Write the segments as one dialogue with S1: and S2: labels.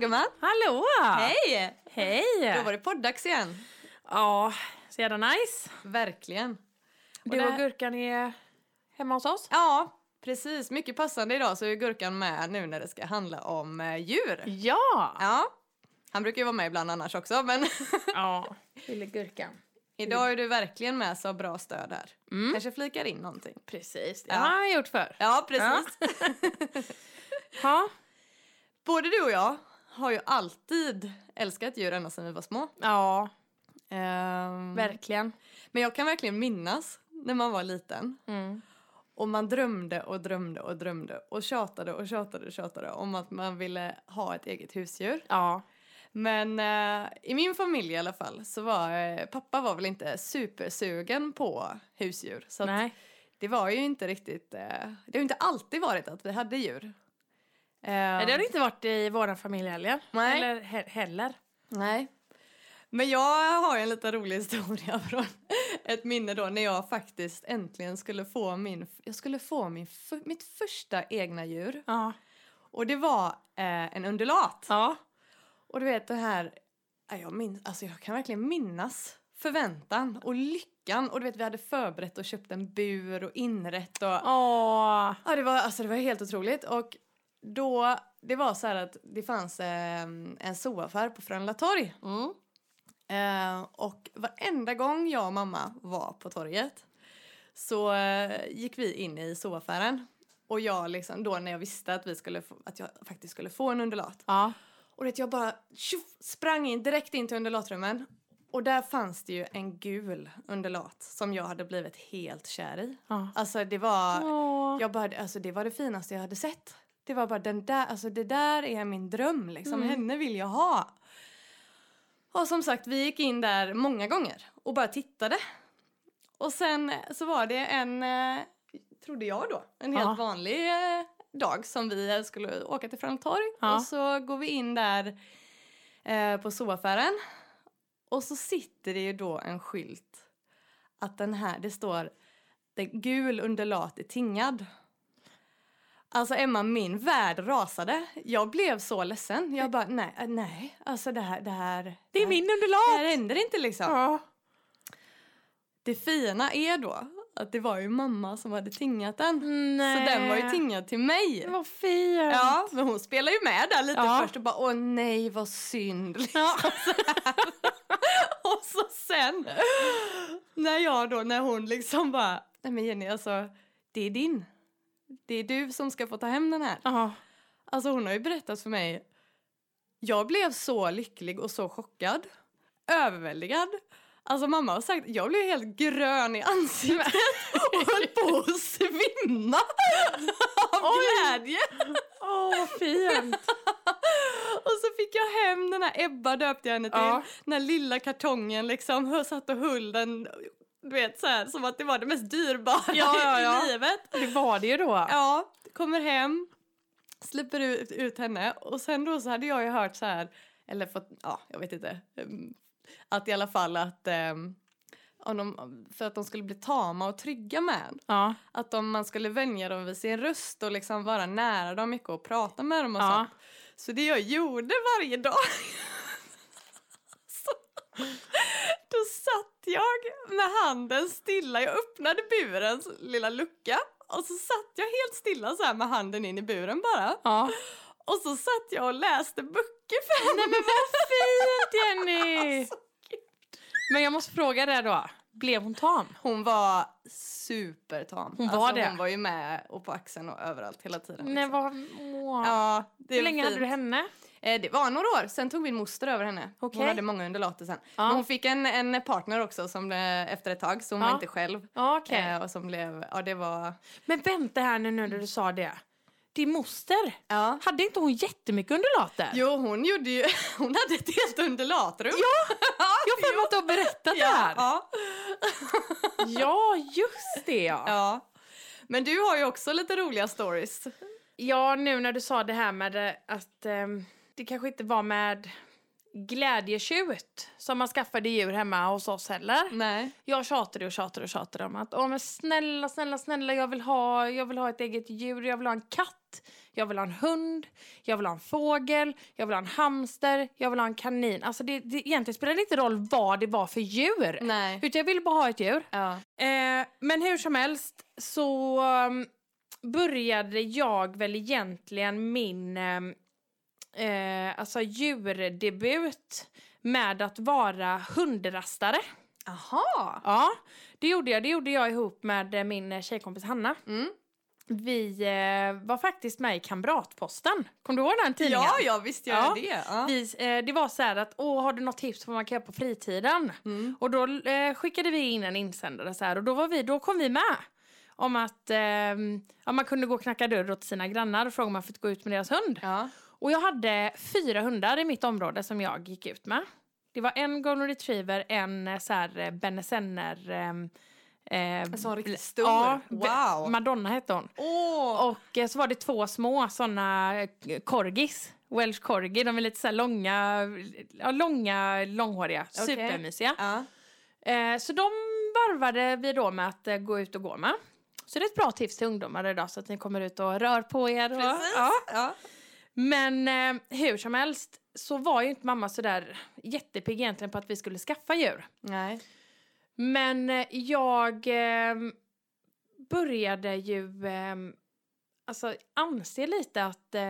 S1: gumman!
S2: Hallå!
S1: Hej!
S2: Hej!
S1: Då var det podddags igen.
S2: Ja, så jävla nice.
S1: Verkligen.
S2: Du
S1: det-
S2: och Gurkan är hemma hos oss.
S1: Ja, precis. Mycket passande idag så är Gurkan med nu när det ska handla om eh, djur.
S2: Ja!
S1: Ja, han brukar ju vara med ibland annars också men
S2: Ja. Lille Gurkan.
S1: idag är du verkligen med så bra stöd här.
S2: Mm.
S1: Kanske flikar in någonting.
S2: Precis, det
S1: Ja.
S2: har han gjort förr.
S1: Ja, precis.
S2: Ja.
S1: Både du och jag har ju alltid älskat djur ända sedan vi var små.
S2: ja,
S1: Ehm,
S2: verkligen.
S1: men jag kan verkligen minnas när man var liten
S2: Mm.
S1: Och man drömde och drömde och drömde och tjatade och tjatade och tjatade om att man ville ha ett eget husdjur.
S2: Ja.
S1: Men eh, i min familj i alla fall så var eh, pappa var väl inte supersugen på husdjur. Så att
S2: Nej.
S1: det var ju inte riktigt, eh, det har ju inte alltid varit att vi hade djur. Eh,
S2: Nej, Det har det inte varit i vår familj heller.
S1: Nej.
S2: Eller he- heller.
S1: Eh, Nej. Men jag har en liten rolig historia från ett minne då när jag faktiskt äntligen skulle få min, jag skulle få min, f- mitt första egna djur.
S2: Ja.
S1: Och det var eh, en undulat.
S2: Ja.
S1: Och du vet det här, ja, jag, minns, alltså, jag kan verkligen minnas förväntan och lyckan. Och du vet vi hade förberett och köpt en bur och inrett och...
S2: Åh.
S1: Ja det var, alltså, det var helt otroligt. Och då, det var så här att det fanns eh, en zooaffär på Frölunda torg.
S2: Mm.
S1: Eh, och varenda gång jag och mamma var på torget så eh, gick vi in i zooaffären. Och jag liksom, då när jag visste att, vi skulle få, att jag faktiskt skulle få en undulat.
S2: Ja.
S1: Och vet, jag bara tjoff, sprang in direkt in till underlatrummen. Och där fanns det ju en gul underlat som jag hade blivit helt kär i.
S2: Ja.
S1: Alltså det var,
S2: Åh.
S1: jag bara, alltså det var det finaste jag hade sett. Det var bara den där, alltså det där är min dröm liksom,
S2: Mm.
S1: henne vill jag ha. Och som sagt, vi gick in där många gånger och bara tittade. Och sen eh, så var det en, eh, trodde jag då, en helt
S2: Ja.
S1: vanlig eh, dag som vi eh, skulle åka till Frölunda torg.
S2: Ja.
S1: Och så går vi in där eh, på zooaffären. Och så sitter det ju då en skylt att den här, det står den gul undulat är tingad. Alltså Emma, min värld rasade. Jag blev så ledsen. Jag bara, nej, eh, nej, alltså det här, det här.
S2: Det är min
S1: Det
S2: undulat!
S1: här händer inte liksom.
S2: Ja.
S1: Det fina är då att det var ju mamma som hade tingat den.
S2: Mm, Nej.
S1: Så den var ju tingad till mig.
S2: Vad fint!
S1: Ja, men hon spelar ju med där lite
S2: Ja.
S1: först och bara åh nej vad synd. Liksom.
S2: Ja.
S1: Och så sen när jag då, när hon liksom bara nej men Jenny alltså det är din. Det är du som ska få ta hem den här.
S2: Ja.
S1: Alltså hon har ju berättat för mig. Jag blev så lycklig och så chockad. Överväldigad. Alltså mamma har sagt, jag blev helt grön i ansiktet och höll på att svimma av glädje.
S2: Åh, vad fint!
S1: Och så fick jag hem den här Ebba döpte jag henne till.
S2: Ja.
S1: Den här lilla kartongen liksom. Jag satt och höll den. Du vet så här, som att det var det mest dyrbara
S2: Ja, ja, ja.
S1: i livet.
S2: Det var det ju då.
S1: Ja, kommer hem, släpper ut, ut henne och sen då så hade jag ju hört så här, eller fått, ja jag vet inte, ehm, att i alla fall att ehm, om de, för att de skulle bli tama och trygga med en.
S2: Ja.
S1: Att om man skulle vänja dem vid sin röst och liksom vara nära dem mycket och prata med dem och
S2: Ja.
S1: sånt. Så det jag gjorde varje dag. så, då satt jag med handen stilla. Jag öppnade burens lilla lucka och så satt jag helt stilla så här med handen in i buren bara.
S2: Ja.
S1: Och så satt jag och läste böcker för henne.
S2: Nej men vad fint Jenny!
S1: Alltså,
S2: Men jag måste fråga det då. Blev hon tam?
S1: Hon var supertam. Alltså,
S2: Hon var det.
S1: Hon var ju med och på axeln och överallt hela tiden.
S2: Nej
S1: liksom.
S2: vad...
S1: Ja,
S2: Ja,
S1: det
S2: Hur
S1: var
S2: länge
S1: fint.
S2: hade du henne?
S1: Eh, det var några år, sen tog min moster över henne.
S2: Okej.
S1: Hon hade många undulater sen.
S2: Ja.
S1: Men hon fick en, en partner också som, eh, efter ett tag, så hon
S2: Ja.
S1: var inte själv.
S2: Ja, Okej.
S1: Eh, och som blev, ja det var...
S2: Men vänta här nu när du sa det. Din moster,
S1: Ja.
S2: hade inte hon jättemycket undulater?
S1: Jo, hon gjorde ju, hon hade ett helt undulatrum. Ja,
S2: Jag har för mig att du har berättat det
S1: ja,
S2: här. Ja,
S1: ja,
S2: just det ja. ja.
S1: ja. Men du har ju också lite roliga stories.
S2: nu när du sa det här med eh, att ehm, det kanske inte var med glädjetjut som man skaffade djur hemma hos oss heller.
S1: Nej.
S2: Jag tjatade och tjatade och tjatade om att Åh, men snälla, snälla, snälla, jag vill, ha, jag vill ha ett eget djur, jag vill ha en katt. katt, jag vill ha en hund, jag vill ha en fågel, jag vill ha en hamster, jag vill ha en kanin. Alltså det, det egentligen spelar det inte roll vad det var för djur.
S1: Nej.
S2: Utan jag ville bara ha ett djur.
S1: Ja.
S2: Eh, men hur som helst så um, började jag väl egentligen min ehm, eh, alltså djurdebut med att vara hundrastare.
S1: Aha.
S2: Ja, det gjorde jag. Det gjorde jag ihop med eh, min eh, tjejkompis Hanna.
S1: Mm.
S2: Vi eh, var faktiskt med i Kamratposten. Kommer du ihåg den tidningen?
S1: Ja, ja, visst gör jag
S2: Ja.
S1: det. Ja.
S2: Vi, eh, det var så här att, åh, har du något tips på vad man kan göra på fritiden?
S1: Mm.
S2: Och då eh, skickade vi in en insändare så här, och då, var vi, då kom vi med. Om att ehm, ja, man kunde gå och knacka dörr åt sina grannar och fråga om man fick gå ut med deras hund.
S1: Ja.
S2: Och jag hade fyra hundar i mitt område som jag gick ut med. Det var en golden retriever, en eh, så här eh, benesenner... ehm, eh,
S1: En sån riktigt stor.
S2: Ja, be-
S1: wow.
S2: Madonna hette hon.
S1: Åh.
S2: Och eh, så var det två små såna eh, corgis. Welsh corgi, de är lite så här långa, ja, långa, långhåriga,
S1: Okej.
S2: supermysiga.
S1: Ja.
S2: Eh, så de varvade vi då med att eh, gå ut och gå med. Så det är ett bra tips till ungdomar idag så att ni kommer ut och rör på er. Och,
S1: Precis.
S2: ja.
S1: Ja.
S2: Men eh, hur som helst så var ju inte mamma sådär jättepigg egentligen på att vi skulle skaffa djur.
S1: Nej.
S2: Men eh, jag eh, började ju eh, alltså anse lite att eh,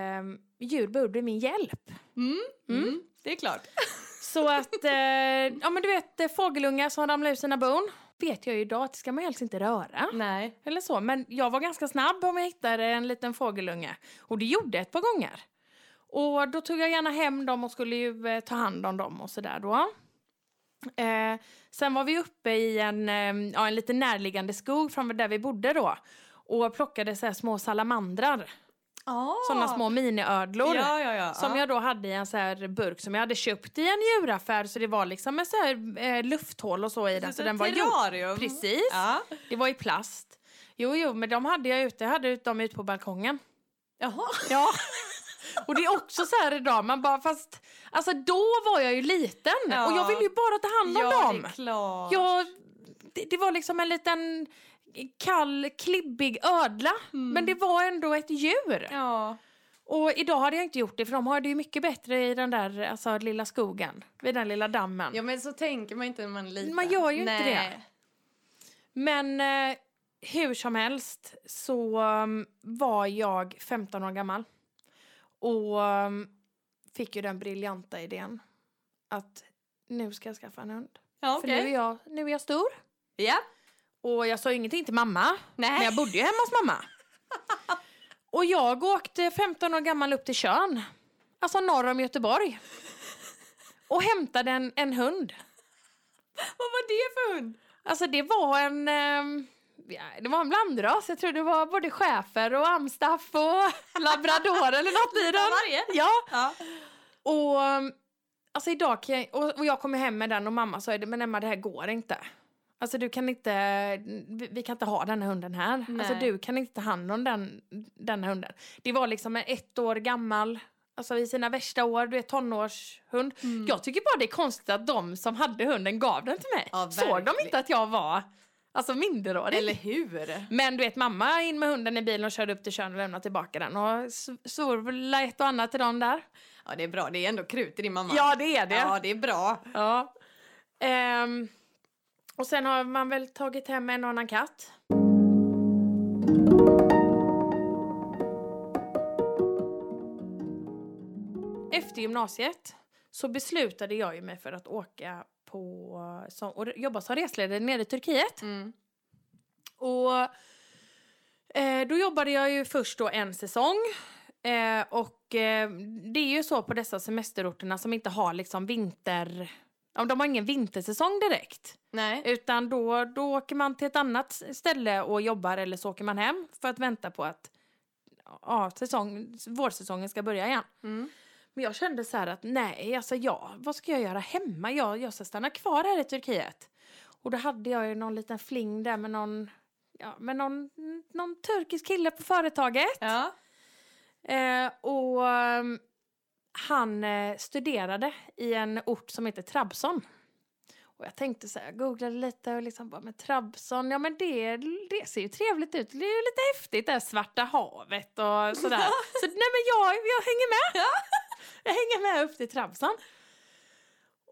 S2: djur borde bli min hjälp.
S1: Mm.
S2: Mm.
S1: Mm. Det är klart.
S2: Så att, eh, ja men du vet eh, fågelungar som ramlar ur sina bon. Vet jag ju idag att det ska man helst inte röra.
S1: Nej.
S2: Eller så, men jag var ganska snabb om jag hittade en liten fågelunge. Och det gjorde jag ett par gånger. Och då tog jag gärna hem dem och skulle ju eh, ta hand om dem och sådär då. Eh, sen var vi uppe i en, eh, ja, en lite närliggande skog från där vi bodde då. Och plockade så här små salamandrar,
S1: Oh.
S2: sådana små miniödlor.
S1: Ja, ja, ja.
S2: Som
S1: ja.
S2: jag då hade i en så här burk som jag hade köpt i en djuraffär så det var liksom en så här eh, lufthål och så i den. Så
S1: Ett
S2: den var gjord.
S1: terrarium.
S2: Precis.
S1: Ja.
S2: Det var i plast. Jo, jo, men de hade jag ute. Jag hade ut dem ute på balkongen.
S1: Jaha.
S2: Ja. Och det är också så här idag, man bara fast... Alltså då var jag ju liten
S1: Ja.
S2: och jag ville ju bara ta hand om
S1: Ja, det
S2: dem.
S1: är klart.
S2: Jag, det, det var liksom en liten kall, klibbig ödla.
S1: Mm.
S2: Men det var ändå ett djur.
S1: Ja.
S2: Och idag hade jag inte gjort det för de har det ju mycket bättre i den där alltså, lilla skogen. Vid den lilla dammen.
S1: ja, men så tänker man inte när man är liten.
S2: Man gör ju inte
S1: Nej.
S2: det. Men eh, hur som helst så um, var jag 15 år gammal och um, fick ju den briljanta idén att nu ska jag skaffa en hund.
S1: Ja,
S2: För nu
S1: okej.
S2: är, jag, nu är jag stor.
S1: Ja.
S2: Och jag sa ju ingenting till mamma, men
S1: Nej.
S2: jag bodde ju hemma hos mamma. Och jag åkte 15 år gammal upp till Tjörn, alltså norr om Göteborg och hämtade en, en hund.
S1: Vad var det för hund?
S2: Alltså det var en... ehm, ja, det var en blandras. Jag tror det var både schäfer och amstaff och labrador eller något i
S1: Lite av
S2: den.
S1: varje.
S2: Ja,
S1: Ja.
S2: och... ehm, Alltså idag kan jag, och, och jag kommer hem med den och mamma sa men Emma det här går inte. Alltså du kan inte, vi, vi kan inte ha den här hunden här. Alltså
S1: Nej.
S2: du kan inte ta hand om den, den här hunden. Det var liksom en ett år gammal, alltså i sina värsta år, du är tonårshund.
S1: Mm.
S2: Jag tycker bara det är konstigt att de som hade hunden gav den till mig.
S1: Ja,
S2: Såg de
S1: verkligen.
S2: inte att jag var alltså minderårig?
S1: Eller hur?
S2: Men du vet, mamma in med hunden i bilen och körde upp till Tjörn och lämnade tillbaka den. Och s- svor väl ett och annat till dem där.
S1: Ja, det är bra. Det är ändå krut i din mamma.
S2: Ja, det är det.
S1: Ja, det är bra.
S2: Ja. Ehm, och sen har man väl tagit hem en och annan katt. Efter gymnasiet så beslutade jag ju mig för att åka på, som, och jobba som resledare nere i Turkiet.
S1: Mm.
S2: Och eh, då jobbade jag ju först då en säsong. Eh, och eh, det är ju så på dessa semesterorterna som inte har liksom vinter... Ja, de har ingen vintersäsong direkt.
S1: Nej.
S2: Utan då, då åker man till ett annat s- ställe och jobbar eller så åker man hem för att vänta på att ja, säsong, vårsäsongen ska börja igen.
S1: Mm.
S2: Men jag kände så här att nej, alltså jag, vad ska jag göra hemma? Jag, jag ska stanna kvar här i Turkiet. Och då hade jag ju någon liten fling där med någon, ja, med någon, någon turkisk kille på företaget.
S1: Ja.
S2: Eh, och ehm, han eh, studerade i en ort som heter Trabzon. Och jag tänkte så här, jag googlade lite och liksom bara med Trabzon, ja men det, det ser ju trevligt ut. Det är ju lite häftigt det här Svarta havet och sådär. så nej men jag, jag hänger med. jag hänger med upp till Trabzon.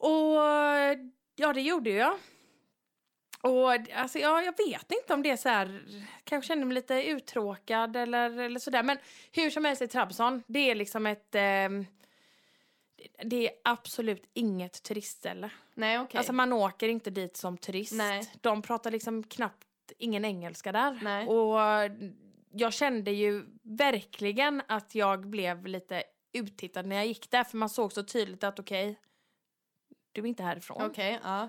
S2: Och ja, det gjorde jag. Och alltså, ja, jag vet inte om det är så här, kanske kände mig lite uttråkad eller, eller sådär. Men hur som helst i Trabzon, det är liksom ett, ehm, det är absolut inget turistställe.
S1: Nej, okej.
S2: Alltså man åker inte dit som turist.
S1: Nej.
S2: De pratar liksom knappt ingen engelska där.
S1: Nej.
S2: Och jag kände ju verkligen att jag blev lite uttittad när jag gick där. För man såg så tydligt att okej, du är inte härifrån.
S1: Okej, ja.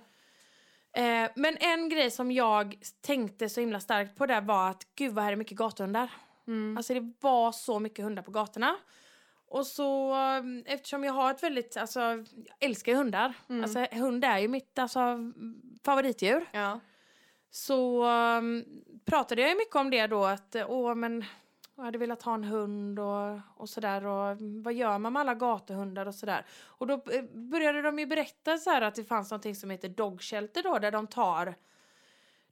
S2: Eh, men en grej som jag tänkte så himla starkt på där var att gud vad här är mycket gatuhundar.
S1: Mm.
S2: Alltså det var så mycket hundar på gatorna. Och så eh, eftersom jag har ett väldigt, alltså jag älskar ju hundar.
S1: Mm.
S2: Alltså hund är ju mitt alltså, favoritdjur.
S1: ja.
S2: Så eh, pratade jag ju mycket om det då att eh, åh men jag hade velat ha en hund och, och sådär och vad gör man med alla gatuhundar och sådär. Och då eh, började de ju berätta så här att det fanns någonting som heter dog shelter då där de tar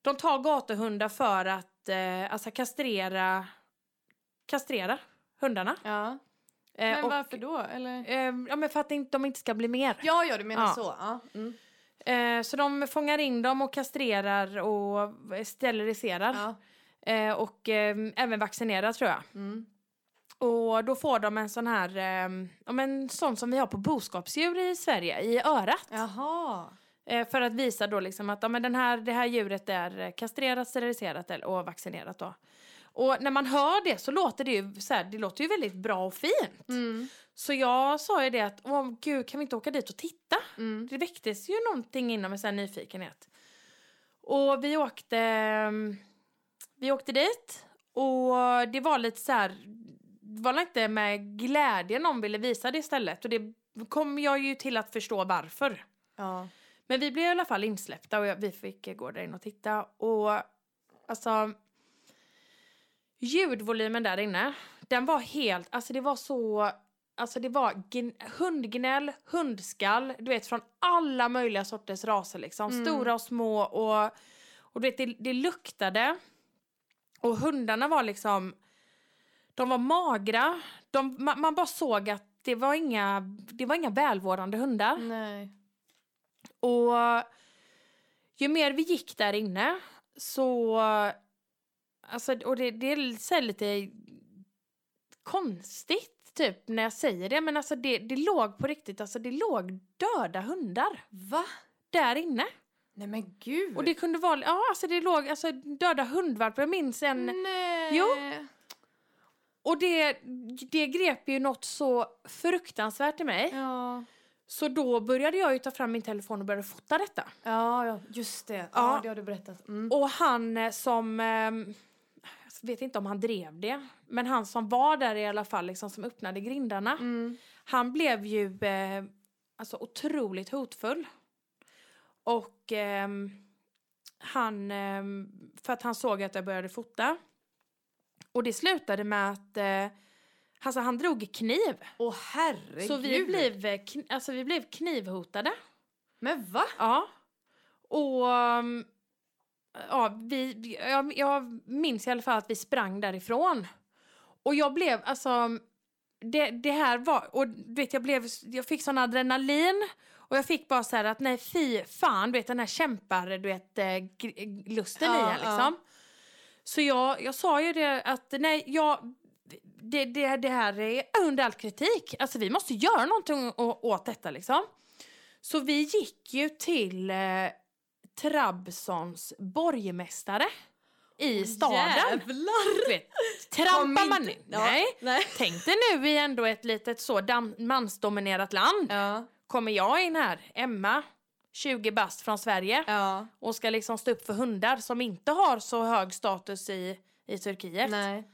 S2: de tar gatuhundar för att eh, alltså kastrera kastrera hundarna.
S1: ja.
S2: Eh,
S1: Men
S2: och,
S1: varför då? Eller?
S2: eh, ja men för att inte- de inte ska bli mer.
S1: Ja, ja, du menar
S2: Ja.
S1: så. Ja. Mm.
S2: Eh, så de fångar in dem och kastrerar och steriliserar.
S1: Ja.
S2: Eh, och eh, även vaccinerar tror jag.
S1: Mm.
S2: Och då får de en sån här, eh, ja, men sån som vi har på boskapsdjur i Sverige, i örat.
S1: Jaha.
S2: Eh, för att visa då liksom att ja, men den här, det här djuret är eh, kastrerat, steriliserat eller- och vaccinerat då. Och när man hör det så låter det ju så här, det låter ju väldigt bra och fint.
S1: Mm.
S2: Så jag sa ju det att, åh gud kan vi inte åka dit och titta?
S1: Mm.
S2: Det väcktes ju någonting inom en sån här nyfikenhet. Och vi åkte, ehm, vi åkte dit och det var lite så här, det var inte med glädje någon ville visa det istället. Och det kom jag ju till att förstå varför.
S1: Ja.
S2: Men vi blev i alla fall insläppta och jag, vi fick eh, gå där in och titta. Och alltså, ljudvolymen där inne, den var helt, alltså det var så, alltså det var gn- hundgnäll, hundskall, du vet från alla möjliga sorters raser liksom.
S1: Mm.
S2: Stora och små och, och du vet det, det luktade. Och hundarna var liksom, de var magra, de, man, man bara såg att det var inga, det var inga välvårdande hundar.
S1: Nej.
S2: Och ju mer vi gick där inne så... Alltså, och det, det är så här lite konstigt typ när jag säger det men alltså det, det låg på riktigt, alltså det låg döda hundar
S1: Va?
S2: där inne.
S1: Nej men gud.
S2: Och det kunde vara, ja alltså det låg alltså döda hundvalpar, jag minns en
S1: Mm. Nej.
S2: Jo. och det, det grep ju något så fruktansvärt i mig.
S1: Ja.
S2: Så då började jag ju ta fram min telefon och började fota detta.
S1: Ja, ja, just det. Ja,
S2: Ja.
S1: det har du berättat. Mm.
S2: Och han eh, som... ehm, Jag vet inte om han drev det, men han som var där i alla fall, liksom, som öppnade grindarna.
S1: Mm.
S2: Han blev ju eh, alltså, otroligt hotfull. Och ehm, han... ehm, för att han såg att jag började fota. Och det slutade med att eh, alltså, han drog kniv.
S1: Åh herregud.
S2: Så vi blev, eh, kn- alltså, vi blev knivhotade.
S1: Men va?
S2: Ja. Och... um, Ja, vi, jag, jag minns i alla fall att vi sprang därifrån. Och jag blev, alltså... Det, det här var... Och du vet, jag, blev, jag fick sån adrenalin. Och jag fick bara så här att nej fy fan, du vet den här kämpar, du vet, eh, gr- lusten i
S1: Ja,
S2: en liksom. Så jag, jag sa ju det att nej, jag... Det, det, det här är under all kritik. Alltså vi måste göra någonting å- åt detta liksom. Så vi gick ju till eh, Trabzons borgmästare i staden.
S1: Jävlar.
S2: Du vet,
S1: Kom
S2: trampar man
S1: inte-
S2: in?
S1: Ja,
S2: Nej.
S1: Nej.
S2: Tänk dig nu i ändå ett litet så dam- mansdominerat land.
S1: Ja.
S2: Kommer jag in här, Emma, 20 bast från Sverige
S1: Ja.
S2: och ska liksom stå upp för hundar som inte har så hög status i, i Turkiet.
S1: Nej.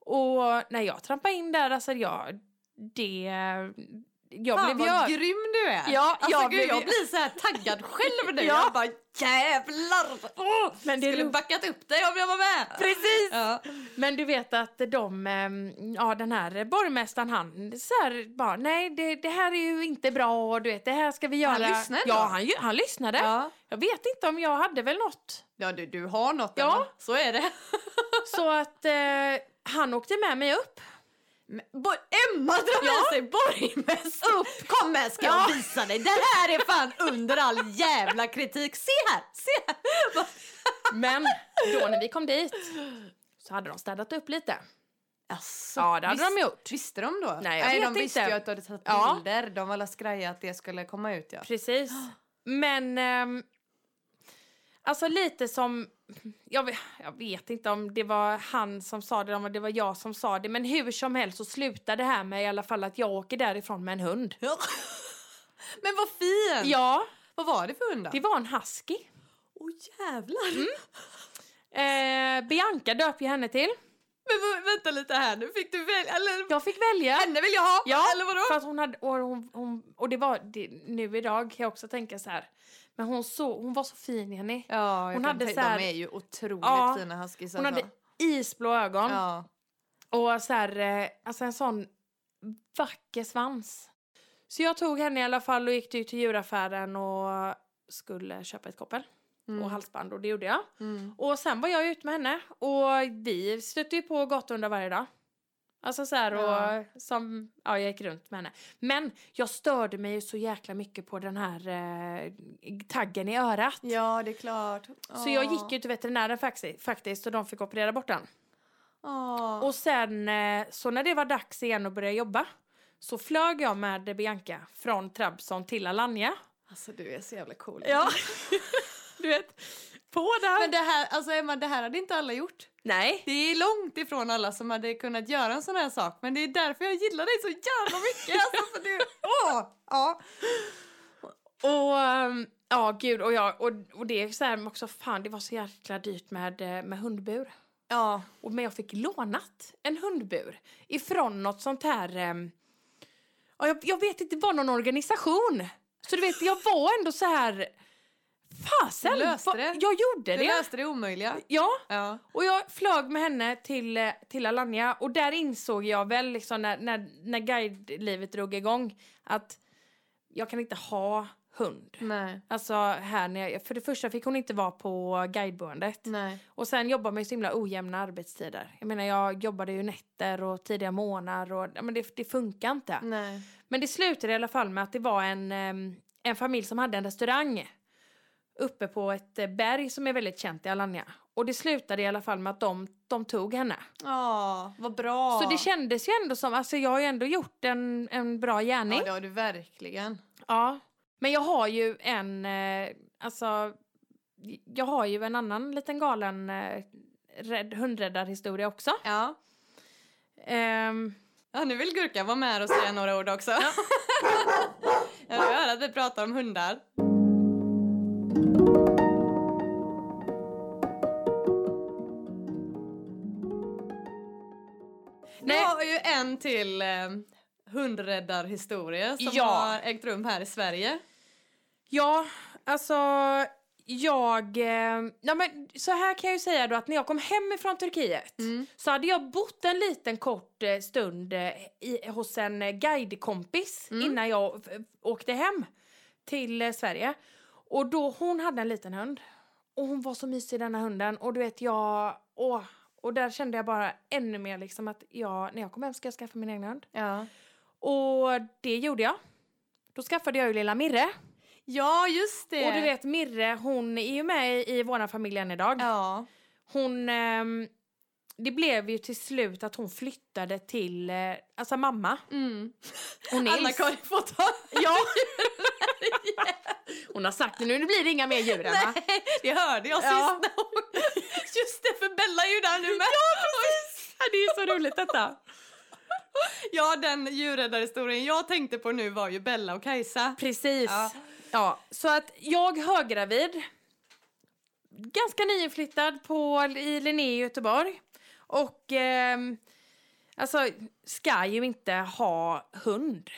S2: Och när jag trampade in där, alltså jag... Det... jag
S1: Fan
S2: blev
S1: vad
S2: ju... ö-
S1: grym du är!
S2: Ja,
S1: alltså,
S2: jag
S1: jag, gud,
S2: blev
S1: jag
S2: ju-
S1: blir så här taggad själv nu.
S2: Ja.
S1: Jag bara jävlar! Åh,
S2: Men det är
S1: skulle
S2: lugnt.
S1: backat upp dig om jag var med!
S2: Precis!
S1: Ja.
S2: Men du vet att de, ehm, ja den här borgmästaren han så här, bara nej det, det här är ju inte bra och du vet det här ska vi göra.
S1: Han lyssnade
S2: Ja
S1: då?
S2: han, ju- han lyssnade.
S1: Ja.
S2: Jag vet inte om jag hade väl något.
S1: ja, du, du har något
S2: Ja.
S1: Emma. Så är det.
S2: Så att eh, han åkte med mig upp.
S1: Bo- Emma drar med sig borgmästaren! Upp! Kom här ska jag visa dig! Det här är fan under all jävla kritik! Se här! Se här! Vad-
S2: Men då när vi kom dit så hade de städat upp lite.
S1: Alltså,
S2: Ja det hade
S1: visst-
S2: de gjort.
S1: Visste de då?
S2: Nej, jag vet
S1: de visste
S2: inte.
S1: ju att du hade tagit
S2: Ja.
S1: bilder. De var alla skraja att det skulle komma ut ja.
S2: Precis. Men ehm, alltså lite som, jag vet, jag vet inte om det var han som sa det eller om det var jag som sa det men hur som helst så slutade det här med i alla fall att jag åker därifrån med en hund.
S1: Men vad fin!
S2: Ja,
S1: Vad var det för hund då?
S2: det var en husky.
S1: Åh jävlar!
S2: Eh, Bianca döpte jag henne till.
S1: Men vä- vänta lite här nu, fick du välja? Eller,
S2: Jag fick välja.
S1: Henne vill jag ha!
S2: Ja,
S1: Eller vadå?
S2: för att hon hade, och, hon, hon, och det var det, nu idag kan jag också tänka så här. Men hon, så, hon var så fin Jenny.
S1: Ja, jag
S2: Hon
S1: kan
S2: hade
S1: tänka-
S2: så här-
S1: de är ju otroligt
S2: Ja,
S1: fina huskisar.
S2: Hon hade
S1: alltså.
S2: isblå ögon.
S1: ja.
S2: Och så här, eh, alltså en sån vacker svans. Så jag tog henne i alla fall och gick till till djuraffären och skulle köpa ett koppel
S1: Mm.
S2: och halsband och det gjorde jag.
S1: Mm.
S2: Och sen var jag ute med henne och vi stötte ju på gatuhundar varje dag. Alltså så här och
S1: Ja.
S2: som, ja jag gick runt med henne. Men jag störde mig ju så jäkla mycket på den här eh, taggen i örat.
S1: ja, det är klart.
S2: Så jag gick ju till veterinären fakti- faktiskt och de fick operera bort den.
S1: Åh.
S2: Och sen eh, så när det var dags igen att börja jobba så flög jag med Bianca från Trabzon till Alanya.
S1: Alltså du är så jävla cool.
S2: du vet. På där.
S1: Men det här, alltså Emma, det här hade inte alla gjort.
S2: nej.
S1: Det är långt ifrån alla som hade kunnat göra en sån här sak. Men det är därför jag gillar dig så jävla mycket. Alltså, för du, åh, ja.
S2: Och ehm, ja gud och, jag, och, och det är så här också fan det var så jäkla dyrt med, eh, med hundbur.
S1: ja.
S2: Och, men jag fick lånat en hundbur ifrån något sånt här ehm, ja, jag, jag vet inte, det var någon organisation. Så du vet jag var ändå så här Fasen!
S1: Du löste
S2: vad-
S1: det.
S2: Jag gjorde
S1: Du
S2: det.
S1: löste det omöjliga.
S2: Ja,
S1: Ja.
S2: Och jag flög med henne till, eh, till Alanya och där insåg jag väl liksom när, när, när guidelivet drog igång att jag kan inte ha hund.
S1: Nej.
S2: Alltså här när jag, för det första fick hon inte vara på guideboendet.
S1: Nej.
S2: Och sen jobbar man ju så himla ojämna arbetstider. Jag menar jag jobbade ju nätter och tidiga morgnar och ja, men det, det funkar
S1: Mm.
S2: inte.
S1: Nej.
S2: Men det slutade i alla fall med att det var en, ehm, en familj som hade en restaurang uppe på ett eh, berg som är väldigt känt i Alanya. Och det slutade i alla fall med att de, de tog henne.
S1: Ja, vad bra.
S2: Så det kändes ju ändå som, alltså jag har ju ändå gjort en, en bra gärning.
S1: Ja, det
S2: Ja,
S1: har du verkligen.
S2: Men jag har ju en, eh, alltså, jag har ju en annan liten galen eh, rädd, hundräddarhistoria också.
S1: Ja.
S2: Ehm,
S1: Ja, nu vill Gurka vara med här och säga några ord också. Jag hör att vi pratar om hundar. Nej.
S2: Nej.
S1: Jag har ju en till eh, hundräddarhistoria som
S2: Ja.
S1: har ägt rum här i Sverige.
S2: Ja, alltså jag... Eh, ja, men så här kan jag ju säga då att när jag kom hem ifrån Turkiet
S1: Mm.
S2: så hade jag bott en liten kort eh, stund eh, i, hos en eh, guidekompis
S1: Mm.
S2: innan jag f- åkte hem till eh, Sverige. Och då hon hade en liten hund och hon var så mysig den här hunden och du vet jag... Åh, och där kände jag bara ännu mer liksom att jag, när jag kom hem ska jag skaffa min egen hund.
S1: Ja.
S2: Och det gjorde jag. Då skaffade jag ju lilla Mirre.
S1: ja, just det.
S2: Och du vet Mirre, hon är ju med i, i våran familj än idag.
S1: Ja.
S2: Hon, ehm, det blev ju till slut att hon flyttade till, eh, alltså mamma
S1: Mm.
S2: och Nils.
S1: Anna-Karin får ta...
S2: ja. hon har sagt det nu, nu blir det inga mer djur Emma.
S1: Nej, det hörde jag sist.
S2: Ja.
S1: när hon- Just det, för Bella är ju där nu med.
S2: Ja, det är så roligt detta.
S1: Ja, den djurräddarhistorien jag tänkte på nu var ju Bella och Kajsa.
S2: Precis. Ja.
S1: Ja.
S2: så att jag höggravid, ganska nyinflyttad på, i Linné i Göteborg. Och ehm, alltså, ska ju inte ha hund.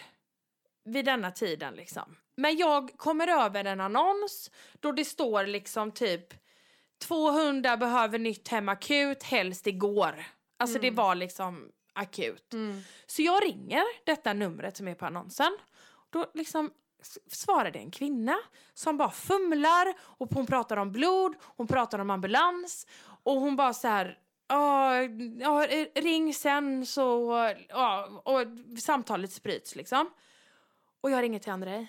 S2: vid denna tiden liksom. Men jag kommer över en annons då det står liksom typ 200 behöver nytt hem akut, helst igår. Alltså det var liksom akut.
S1: Mm.
S2: Så jag ringer detta numret som är på annonsen. Då liksom s- svarar det en kvinna som bara fumlar och hon pratar om blod, hon pratar om ambulans och hon bara så här "Ja, ja, ring sen så, ja, och samtalet bryts liksom. Och jag ringer till Andrei,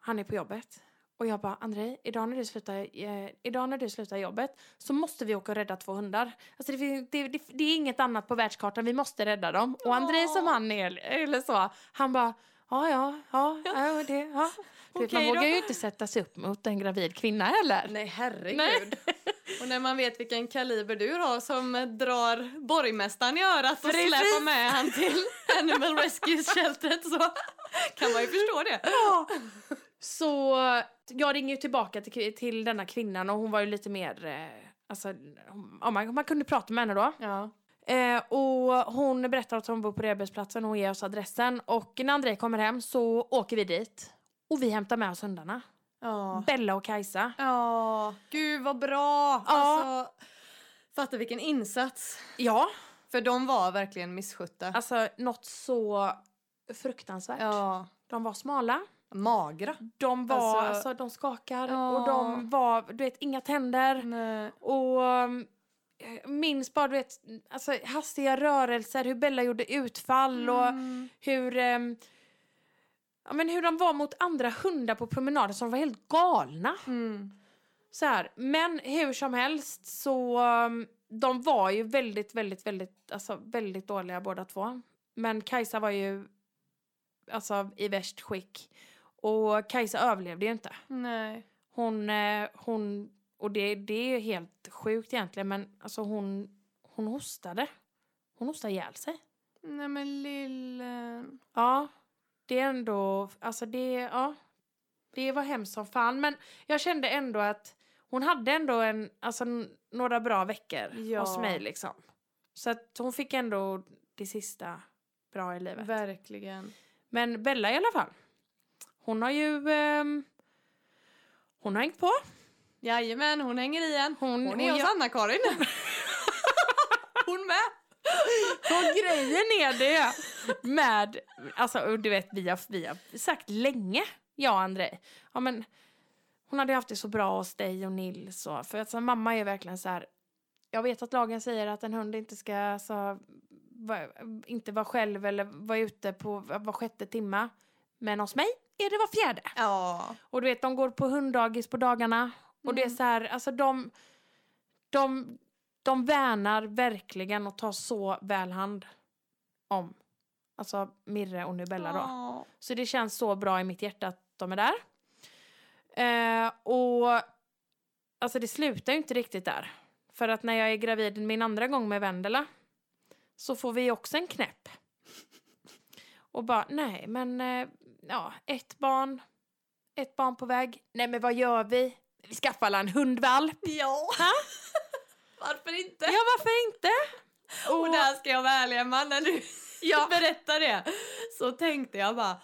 S2: han är på jobbet. Och jag bara, Andrei, idag när du slutar, eh, idag när du slutar jobbet så måste vi åka och rädda två hundar. Alltså det, fin- det, det, det är inget annat på världskartan, vi måste rädda dem. Och Andrei som
S1: Åh.
S2: han är, eller så, han bara, ja, ja, ja, ja, det, ja. Du
S1: Okej
S2: vet, man
S1: då.
S2: vågar ju inte sätta sig upp mot en gravid kvinna heller.
S1: Nej, herregud.
S2: Nej.
S1: Och när man vet vilken kaliber du har som eh, drar borgmästaren i örat och
S2: Precis.
S1: släpar med han till Animal Rescue-sheltret så kan man ju förstå det.
S2: Ja. Så jag ringer ju tillbaka till, till denna kvinnan och hon var ju lite mer, eh, alltså, hon- ja, man, man kunde prata med henne då.
S1: Ja.
S2: Eh, och hon berättar att hon bor på rehabsplatsen och hon ger oss adressen. Och när André kommer hem så åker vi dit. Och vi hämtar med oss hundarna.
S1: Ja.
S2: Bella och Kajsa.
S1: Ja, gud vad bra!
S2: Ja.
S1: Alltså, fatta vilken insats.
S2: Ja,
S1: För de var verkligen misskötta.
S2: alltså något så fruktansvärt.
S1: ja,
S2: De var smala.
S1: magra.
S2: De var, alltså,
S1: Alltså-
S2: de skakar.
S1: Ja.
S2: Och de var, du vet, inga tänder.
S1: Nej.
S2: Och um, jag minns bara, du vet, alltså, hastiga rörelser, hur Bella gjorde utfall och
S1: Mm.
S2: hur... ehm, Ja, men hur de var mot andra hundar på promenaden som var helt galna.
S1: Mm.
S2: Så här. Men hur som helst så... um, De var ju väldigt, väldigt, väldigt, alltså, väldigt dåliga båda två. Men Kajsa var ju alltså, i värst skick. Och Kajsa överlevde ju inte.
S1: Nej.
S2: Hon, eh, hon och det, det är ju helt sjukt egentligen, men alltså hon, hon hostade. Hon hostade ihjäl sig.
S1: Nej men lillen.
S2: Ja, det är ändå, alltså det, ja. Det var hemskt som fan, men jag kände ändå att hon hade ändå en, alltså n- några bra veckor
S1: Ja.
S2: hos mig liksom. Så att hon fick ändå det sista bra i livet.
S1: Verkligen.
S2: Men Bella i alla fall, hon har ju, ehm, hon har hängt på.
S1: Jajamän, hon hänger i en.
S2: Hon,
S1: Hon är hos Anna-Karin. hon med.
S2: Och grejen är det med, alltså och du vet vi har, vi har sagt länge, jag och Andrei, ja men hon hade haft det så bra hos dig och Nils och, för alltså, mamma är verkligen så här. jag vet att lagen säger att en hund inte ska, alltså, va, inte vara själv eller vara ute på var sjätte timma, men hos mig är det var fjärde.
S1: Ja.
S2: Och du vet, de går på hunddagis på dagarna. Och det är
S1: Mm.
S2: så här, alltså de, de, de värnar verkligen och tar så väl hand om. Alltså Mirre och nu Bella då.
S1: Ja.
S2: Så det känns så bra i mitt hjärta att de är där. Eh, och alltså det slutar ju inte riktigt där. För att när jag är gravid min andra gång med Vendela så får vi också en knäpp. Och bara, nej men eh, ja, ett barn, ett barn på väg. Nej men vad gör vi? Vi skaffar alla en hundvalp.
S1: Ja. Varför inte?
S2: Ja varför inte?
S1: Och där ska jag vara ärlig Emma, när du
S2: Ja.
S1: berättar det så tänkte jag bara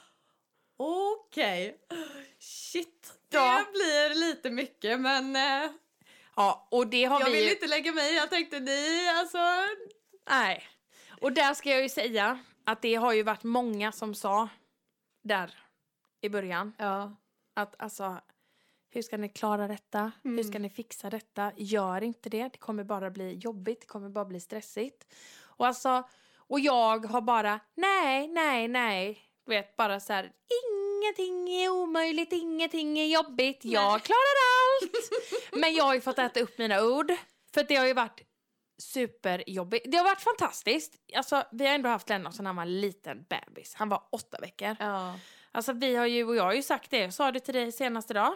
S1: okej, shit, det
S2: Ja.
S1: blir lite mycket men eh,
S2: ja, och det har
S1: jag
S2: vi
S1: vill
S2: ju-
S1: inte lägga mig i. Jag tänkte ni alltså,
S2: Nej. Och där ska jag ju säga att det har ju varit många som sa där i början
S1: ja,
S2: att alltså hur ska ni klara detta? Hur
S1: Mm.
S2: ska ni fixa detta? Gör inte det. Det kommer bara bli jobbigt. Det kommer bara bli stressigt. Och alltså och jag har bara nej, nej, nej. Du vet bara så här ingenting är omöjligt, ingenting är jobbigt. Jag
S1: Nej.
S2: klarar allt. Men jag har ju fått äta upp mina ord för det har ju varit superjobbigt. Det har varit fantastiskt. Alltså vi har ändå haft Lennon sedan han var en liten bebis. Han var åtta veckor.
S1: ja,
S2: Alltså vi har ju, och jag har ju sagt det, jag sa det till dig senast idag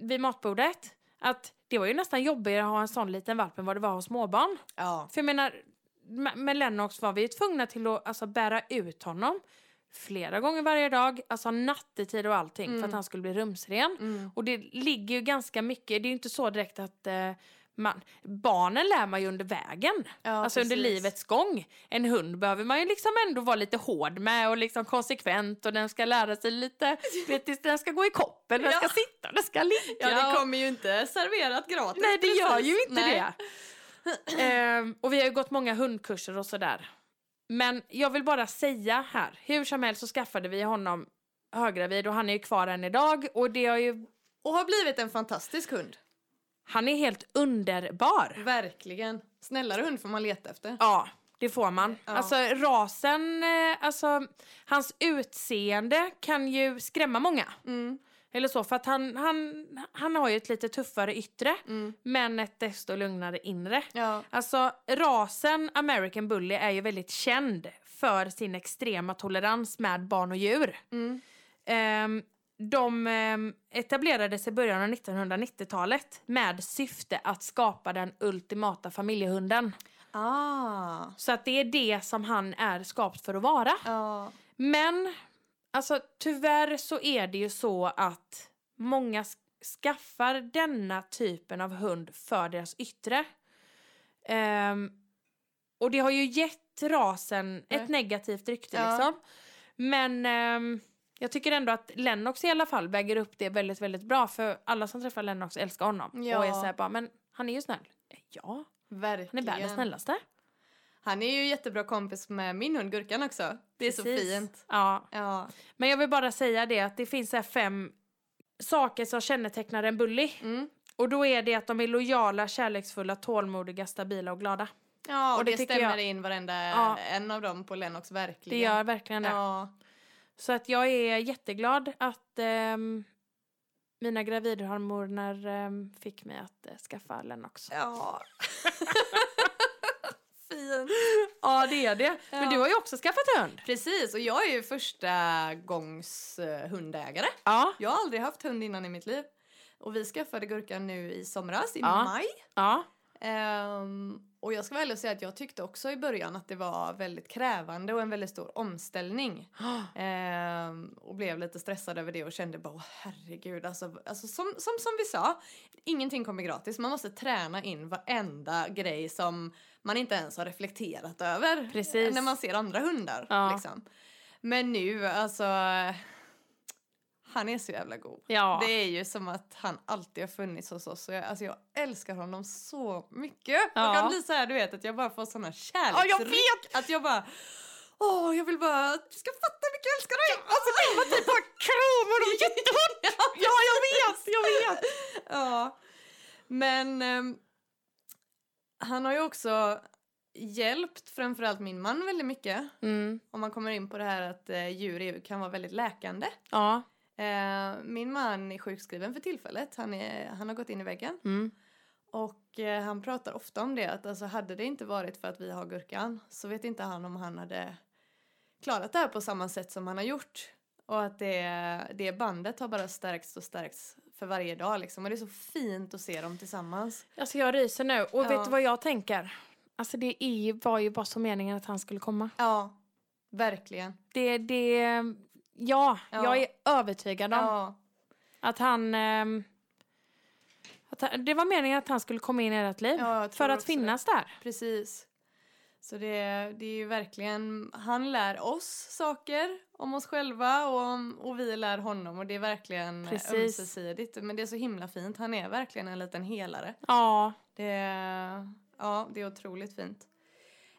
S2: vid matbordet, att det var ju nästan jobbigare att ha en sån liten valp än vad det var att ha småbarn.
S1: ja,
S2: För jag menar, med- med Lennox var vi ju tvungna till att alltså, bära ut honom flera gånger varje dag, alltså nattetid och allting för
S1: Mm.
S2: att han skulle bli rumsren.
S1: mm.
S2: Och det ligger ju ganska mycket, det är ju inte så direkt att eh, man, barnen lär man ju under vägen.
S1: Ja,
S2: alltså under
S1: precis.
S2: livets gång. En hund behöver man ju liksom ändå vara lite hård med och liksom konsekvent och den ska lära sig lite, vet, du, den ska gå i koppel, den
S1: Ja.
S2: ska sitta och den ska ligga.
S1: Ja, det
S2: och-
S1: kommer ju inte serverat gratis.
S2: Nej, det gör
S1: precis.
S2: ju inte
S1: Nej.
S2: det. Ehm, och vi har ju gått många hundkurser och sådär. Men jag vill bara säga här, hur som helst så skaffade vi honom höggravid och han är ju kvar än idag och det har ju,
S1: Och har blivit en fantastisk hund.
S2: han är helt underbar.
S1: Verkligen. Snällare hund får man leta efter.
S2: Ja, det får man.
S1: Ja.
S2: Alltså rasen, eh, alltså hans utseende kan ju skrämma många.
S1: Mm.
S2: Eller så, för att han, han, han har ju ett lite tuffare yttre
S1: Mm.
S2: men ett desto lugnare inre.
S1: Ja.
S2: Alltså rasen American Bully är ju väldigt känd för sin extrema tolerans med barn och djur.
S1: Mm.
S2: Ehm, de ehm, etablerades i början av 1990-talet med syfte att skapa den ultimata familjehunden.
S1: Ah.
S2: Så att det är det som han är skapt för att vara.
S1: Ja.
S2: Men alltså tyvärr så är det ju så att många sk- skaffar denna typen av hund för deras yttre. Ehm, och det har ju gett rasen
S1: Mm.
S2: ett negativt rykte
S1: Ja.
S2: liksom. Men ehm, jag tycker ändå att Lennox i alla fall väger upp det väldigt, väldigt bra. För alla som träffar Lennox älskar honom. Och är
S1: Ja.
S2: såhär bara, men han är ju snäll. Ja, han är
S1: Verkligen.
S2: världens snällaste.
S1: Han är ju jättebra kompis med min hund Gurkan också. Det är så
S2: Precis.
S1: fint.
S2: Ja,
S1: Ja.
S2: Men jag vill bara säga det att det finns så här fem saker som kännetecknar en bully.
S1: Mm.
S2: Och då är det att de är lojala, kärleksfulla, tålmodiga, stabila och glada.
S1: Ja, och,
S2: Och det
S1: det,
S2: tycker
S1: stämmer
S2: jag-
S1: in varenda
S2: Ja.
S1: en av dem på Lennox verkligen.
S2: Det gör verkligen det.
S1: Ja.
S2: Så att jag är jätteglad att ehm, mina gravidhormoner ehm, fick mig att eh, skaffa Lennox. Ja.
S1: Ja. fint.
S2: det är det. Men
S1: Ja.
S2: du har ju också skaffat hund.
S1: Precis, och jag är ju första gångs eh, hundägare.
S2: Ja.
S1: Jag har aldrig haft hund innan i mitt liv. Och vi skaffade Gurkan nu i somras, i
S2: Ja.
S1: maj.
S2: Ja.
S1: Ehm, och jag ska väl säga att jag tyckte också i början att det var väldigt krävande och en väldigt stor omställning. Ehm, och blev lite stressad över det och kände bara "Åh, herregud, alltså, alltså som, som, som vi sa, ingenting kommer gratis. Man måste träna in varenda grej som man inte ens har reflekterat över. eh,
S2: Precis.
S1: När man ser andra hundar
S2: Ja.
S1: liksom. Men nu, alltså, han är så jävla god.
S2: Ja.
S1: Det är ju som att han alltid har funnits hos oss. Och jag, alltså jag älskar honom så mycket. Jag
S2: Ja.
S1: kan bli så här, du vet, att jag bara får såna
S2: Ja, jag
S1: kärleksryck.
S2: vet!
S1: att jag bara, åh, jag vill bara, du ska fatta hur mycket jag älskar dig! Alltså det var typ bara kramar och jättehårt!
S2: Ja, jag vet! Jag vet!
S1: ja. Men ehm, han har ju också hjälpt framförallt min man väldigt mycket.
S2: Mm.
S1: Om man kommer in på det här att eh, djur är- kan vara väldigt läkande.
S2: Ja.
S1: Eh, min man är sjukskriven för tillfället. Han, är, han har gått in i väggen.
S2: Mm.
S1: Och eh, han pratar ofta om det. Att alltså, hade det inte varit för att vi har Gurkan så vet inte han om han hade klarat det här på samma sätt som han har gjort. Och att det, det bandet har bara stärkts och stärkts för varje dag. Liksom. Och det är så fint att se dem tillsammans.
S2: Alltså jag ryser nu. Och
S1: Ja.
S2: vet du vad jag tänker? Alltså det är, ju- var ju bara så meningen att han skulle komma.
S1: Ja, verkligen.
S2: Det, det, ja,
S1: Ja.
S2: jag är övertygad om
S1: Ja,
S2: att han... ehm, Att han, det var meningen att han skulle komma in i ert liv.
S1: Ja, jag tror
S2: för att
S1: också det.
S2: finnas där.
S1: precis. Så det, det är ju verkligen, han lär oss saker om oss själva och, om, och vi lär honom och det är verkligen
S2: Precis.
S1: ömsesidigt. Men det är så himla fint, han är verkligen en liten helare.
S2: Ja,
S1: Det, ja, det är otroligt fint.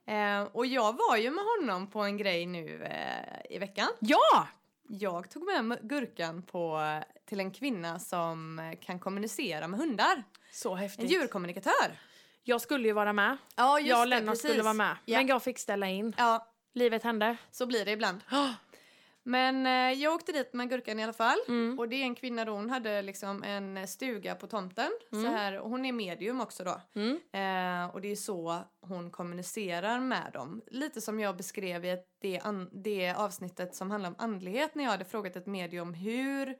S1: Eh, och jag var ju med honom på en grej nu eh, i veckan.
S2: ja!
S1: Jag tog med mig Gurkan på, till en kvinna som kan kommunicera med hundar.
S2: Så
S1: En
S2: häftigt.
S1: djurkommunikatör.
S2: Jag skulle ju vara med.
S1: Ja,
S2: jag och Lennart skulle vara med.
S1: Ja.
S2: Men jag fick ställa in.
S1: Ja,
S2: Livet hände.
S1: så blir det ibland. Men eh, jag åkte dit med Gurkan i alla fall.
S2: Mm.
S1: Och det är en kvinna då, hon hade liksom en stuga på tomten. Så
S2: Mm.
S1: här, och hon är medium också då.
S2: Mm.
S1: Eh, och det är så hon kommunicerar med dem. Lite som jag beskrev i ett- det, an- det avsnittet som handlar om andlighet när jag hade frågat ett medium hur...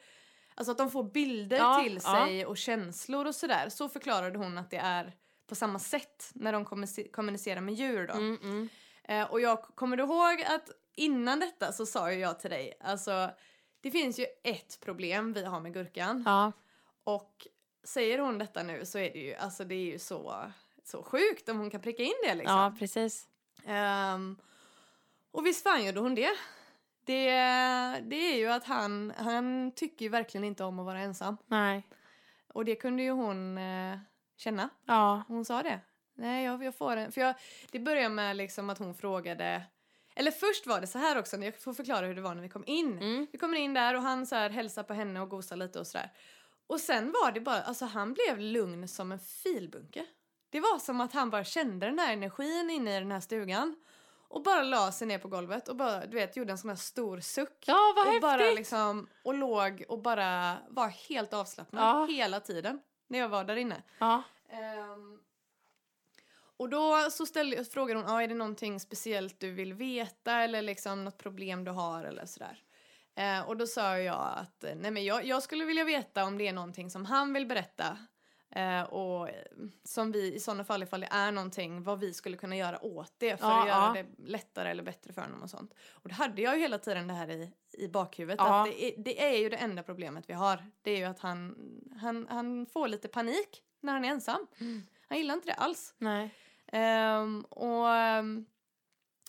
S1: Alltså att de får bilder
S2: Ja,
S1: till
S2: ja.
S1: sig och känslor och sådär. Så förklarade hon att det är på samma sätt när de kommunice- kommunicerar med djur då.
S2: Mm, mm.
S1: Eh, och jag kommer du ihåg att innan detta så sa ju jag till dig, alltså det finns ju ett problem vi har med gurkan
S2: Ja.
S1: och säger hon detta nu så är det ju, alltså det är ju så, så sjukt om hon kan pricka in det liksom.
S2: Ja, precis.
S1: Ehm, och visst fan gjorde hon det. Det, det är ju att han, han tycker ju verkligen inte om att vara ensam.
S2: Nej.
S1: Och det kunde ju hon eh, känna.
S2: Ja.
S1: Hon sa det. Nej, jag, jag får en. För jag, det börjar med liksom att hon frågade... Eller först var det så här också, när jag får förklara hur det var när vi kom in.
S2: Mm.
S1: Vi kommer in där och han så här hälsar på henne och gosar lite och sådär. Och sen var det bara, alltså han blev lugn som en filbunke. Det var som att han bara kände den här energin inne i den här stugan. Och bara la sig ner på golvet och bara, du vet, gjorde en sån här stor suck.
S2: Ja, vad
S1: och bara
S2: häftigt!
S1: liksom, och låg och bara var helt avslappnad
S2: Ja.
S1: hela tiden. När jag var där inne.
S2: Ja.
S1: Ehm, och då så ställde, frågade hon, ah, är det någonting speciellt du vill veta eller liksom något problem du har eller sådär. Eh, och då sa jag att eh, nej men jag, jag skulle vilja veta om det är någonting som han vill berätta. Eh, och eh, som vi i sådana fall, ifall det är någonting, vad vi skulle kunna göra åt det för
S2: Ja,
S1: att göra
S2: ja.
S1: det lättare eller bättre för honom och sånt. Och det hade jag ju hela tiden det här i, i bakhuvudet.
S2: Ja.
S1: Att det, är, det är ju det enda problemet vi har. Det är ju att han, han, han får lite panik när han är ensam.
S2: Mm.
S1: Han gillar inte det alls.
S2: Nej.
S1: Ehm, och ehm,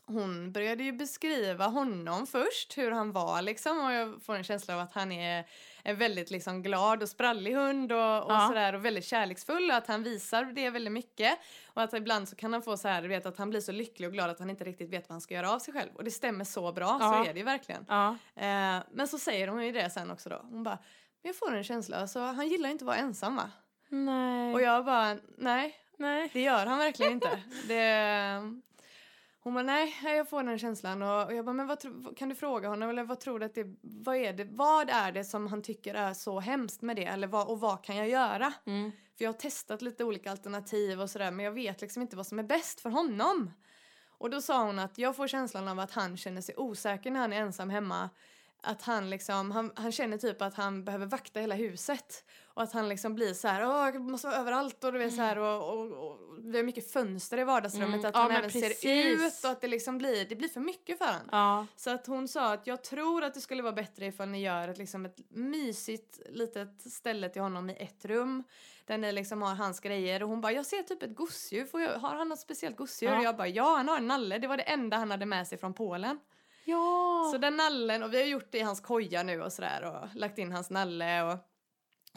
S1: hon började ju beskriva honom först, hur han var liksom. Och jag får en känsla av att han är en väldigt liksom glad och sprallig hund och, och
S2: Ja.
S1: sådär och väldigt kärleksfull och att han visar det väldigt mycket. Och att ibland så kan han få så här, du vet att han blir så lycklig och glad att han inte riktigt vet vad han ska göra av sig själv. Och det stämmer så bra,
S2: Ja.
S1: så är det ju verkligen.
S2: Ja.
S1: Eh, men så säger hon ju det sen också då. Hon bara, men jag får en känsla, alltså han gillar inte att vara ensam va?
S2: Nej.
S1: Och jag bara, nej
S2: Nej.
S1: det gör han verkligen inte. Det... Hon bara, nej, nej, jag får den känslan. Och och jag bara, men vad tro, kan du fråga honom? Eller vad tror du att det, vad är det, vad är det som han tycker är så hemskt med det? Eller vad, och vad kan jag göra?
S2: Mm.
S1: För jag har testat lite olika alternativ och sådär, men jag vet liksom inte vad som är bäst för honom. Och då sa hon att jag får känslan av att han känner sig osäker när han är ensam hemma. Att han liksom, han, han känner typ att han behöver vakta hela huset. Och att han liksom blir så här, åh, jag måste vara överallt och du vet så här och, och, och vi har mycket fönster i vardagsrummet.
S2: Mm,
S1: Att
S2: ja,
S1: han
S2: men
S1: även ser
S2: precis.
S1: ut och att det liksom blir, det blir för mycket för honom.
S2: Ja.
S1: Så att hon sa att jag tror att det skulle vara bättre ifall ni gör ett, liksom ett mysigt litet ställe till honom i ett rum. Där ni liksom har hans grejer. Och hon bara, jag ser typ ett gosedjur. Får jag, har han något speciellt gosedjur?
S2: Ja.
S1: Och jag bara, ja han har en nalle. Det var det enda han hade med sig från Polen.
S2: Ja.
S1: Så den nallen, och vi har gjort det i hans koja nu och sådär. Och lagt in hans nalle och...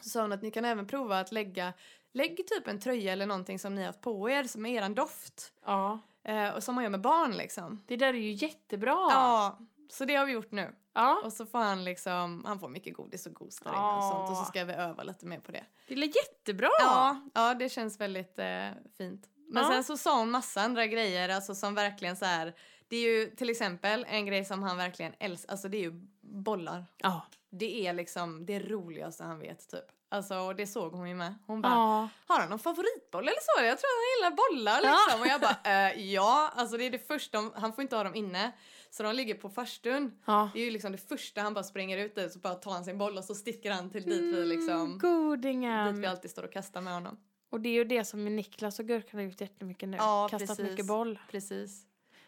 S1: Så sa hon att ni kan även prova att lägga, lägg typ en tröja eller någonting som ni har haft på er som är eran doft.
S2: ja.
S1: Eh, och som man gör med barn liksom.
S2: Det där är ju jättebra.
S1: Ja, så det har vi gjort nu.
S2: Ja.
S1: Och så får han liksom, han får mycket godis och gos där inne och sånt och så ska vi öva lite mer på det.
S2: Det är jättebra.
S1: Ja, ja det känns väldigt eh, fint. Men
S2: Ja.
S1: sen så sa hon massa andra grejer alltså som verkligen så här, det är ju till exempel en grej som han verkligen älskar, alltså det är ju bollar.
S2: Ja.
S1: Det är liksom det roligaste han vet typ. Alltså och det såg hon ju med. Hon bara,
S2: Ja.
S1: har han någon favoritboll eller så? Jag tror att han gillar bollar
S2: Ja.
S1: liksom. Och jag bara, eh, ja, alltså det är det första, han får inte ha dem inne. Så de ligger på farstun.
S2: ja.
S1: Det är ju liksom det första han bara springer ut i så bara tar han sin boll och så sticker han till dit vi liksom dit
S2: Mm, Godingen.
S1: vi alltid står och kastar med honom.
S2: Och det är ju det som Niklas och Gurkan har gjort jättemycket nu.
S1: Ja,
S2: Kastat
S1: precis.
S2: mycket boll.
S1: Precis.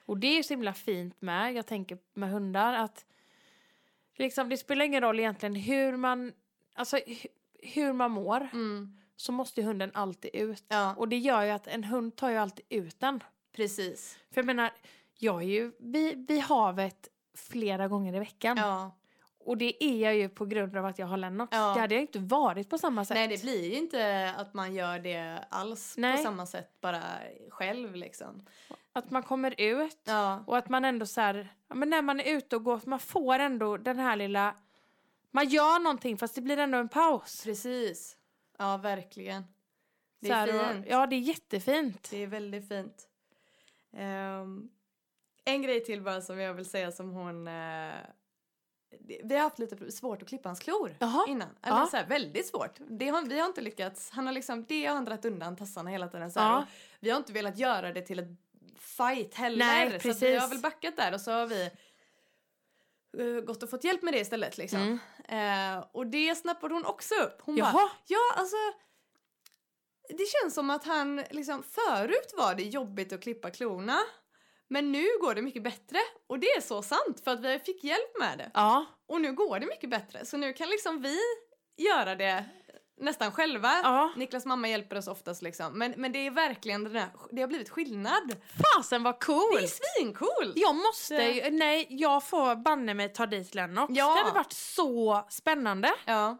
S2: Och det är ju så himla fint med, jag tänker med hundar, att liksom, det spelar ingen roll egentligen hur man, alltså, hu- hur man mår
S1: Mm.
S2: så måste ju hunden alltid ut.
S1: Ja,
S2: Och det gör ju att en hund tar ju alltid ut den.
S1: precis.
S2: För jag menar, jag är ju vid, vid havet flera gånger i veckan.
S1: Ja.
S2: Och det är jag ju på grund av att jag har Lennox.
S1: Ja.
S2: Det hade jag ju inte varit på samma sätt.
S1: Nej, det blir ju inte att man gör det alls
S2: Nej.
S1: på samma sätt bara själv liksom.
S2: Att man kommer ut
S1: Ja,
S2: och att man ändå så här, ja, men när man är ute och går, man får ändå den här lilla, man gör någonting fast det blir ändå en paus.
S1: precis. Ja, verkligen. Det
S2: Så
S1: är
S2: här,
S1: fint.
S2: Och, ja, det är jättefint.
S1: Det är väldigt fint. Ehm, en grej till bara som jag vill säga som hon... eh, det- vi har haft lite svårt att klippa hans klor
S2: Jaha.
S1: innan. Eller
S2: Ja.
S1: så här, väldigt svårt. Det har, vi har inte lyckats. Han har liksom, det har han dragit undan tassarna hela tiden. Så här,
S2: Ja.
S1: och Vi har inte velat göra det till ett fight heller.
S2: Nej,
S1: så att vi har
S2: precis.
S1: väl backat där och så har vi eh, gått och fått hjälp med det istället. Liksom.
S2: Mm.
S1: Eh, och det snappade hon också upp. Hon bara,
S2: Jaha,
S1: Ja, alltså... Det känns som att han liksom... Förut var det jobbigt att klippa klorna. Men nu går det mycket bättre. Och det är så sant för att vi fick hjälp med det.
S2: ja,
S1: Och nu går det mycket bättre. Så nu kan liksom vi göra det nästan själva.
S2: Ja.
S1: Niklas mamma hjälper oss oftast liksom. Men, men det är verkligen den där, det har blivit skillnad.
S2: Fasen vad cool!
S1: Det är svincoolt!
S2: Jag måste ju, nej jag får banne mig ta dit Lennox.
S1: Ja.
S2: Det hade varit så spännande.
S1: Ja.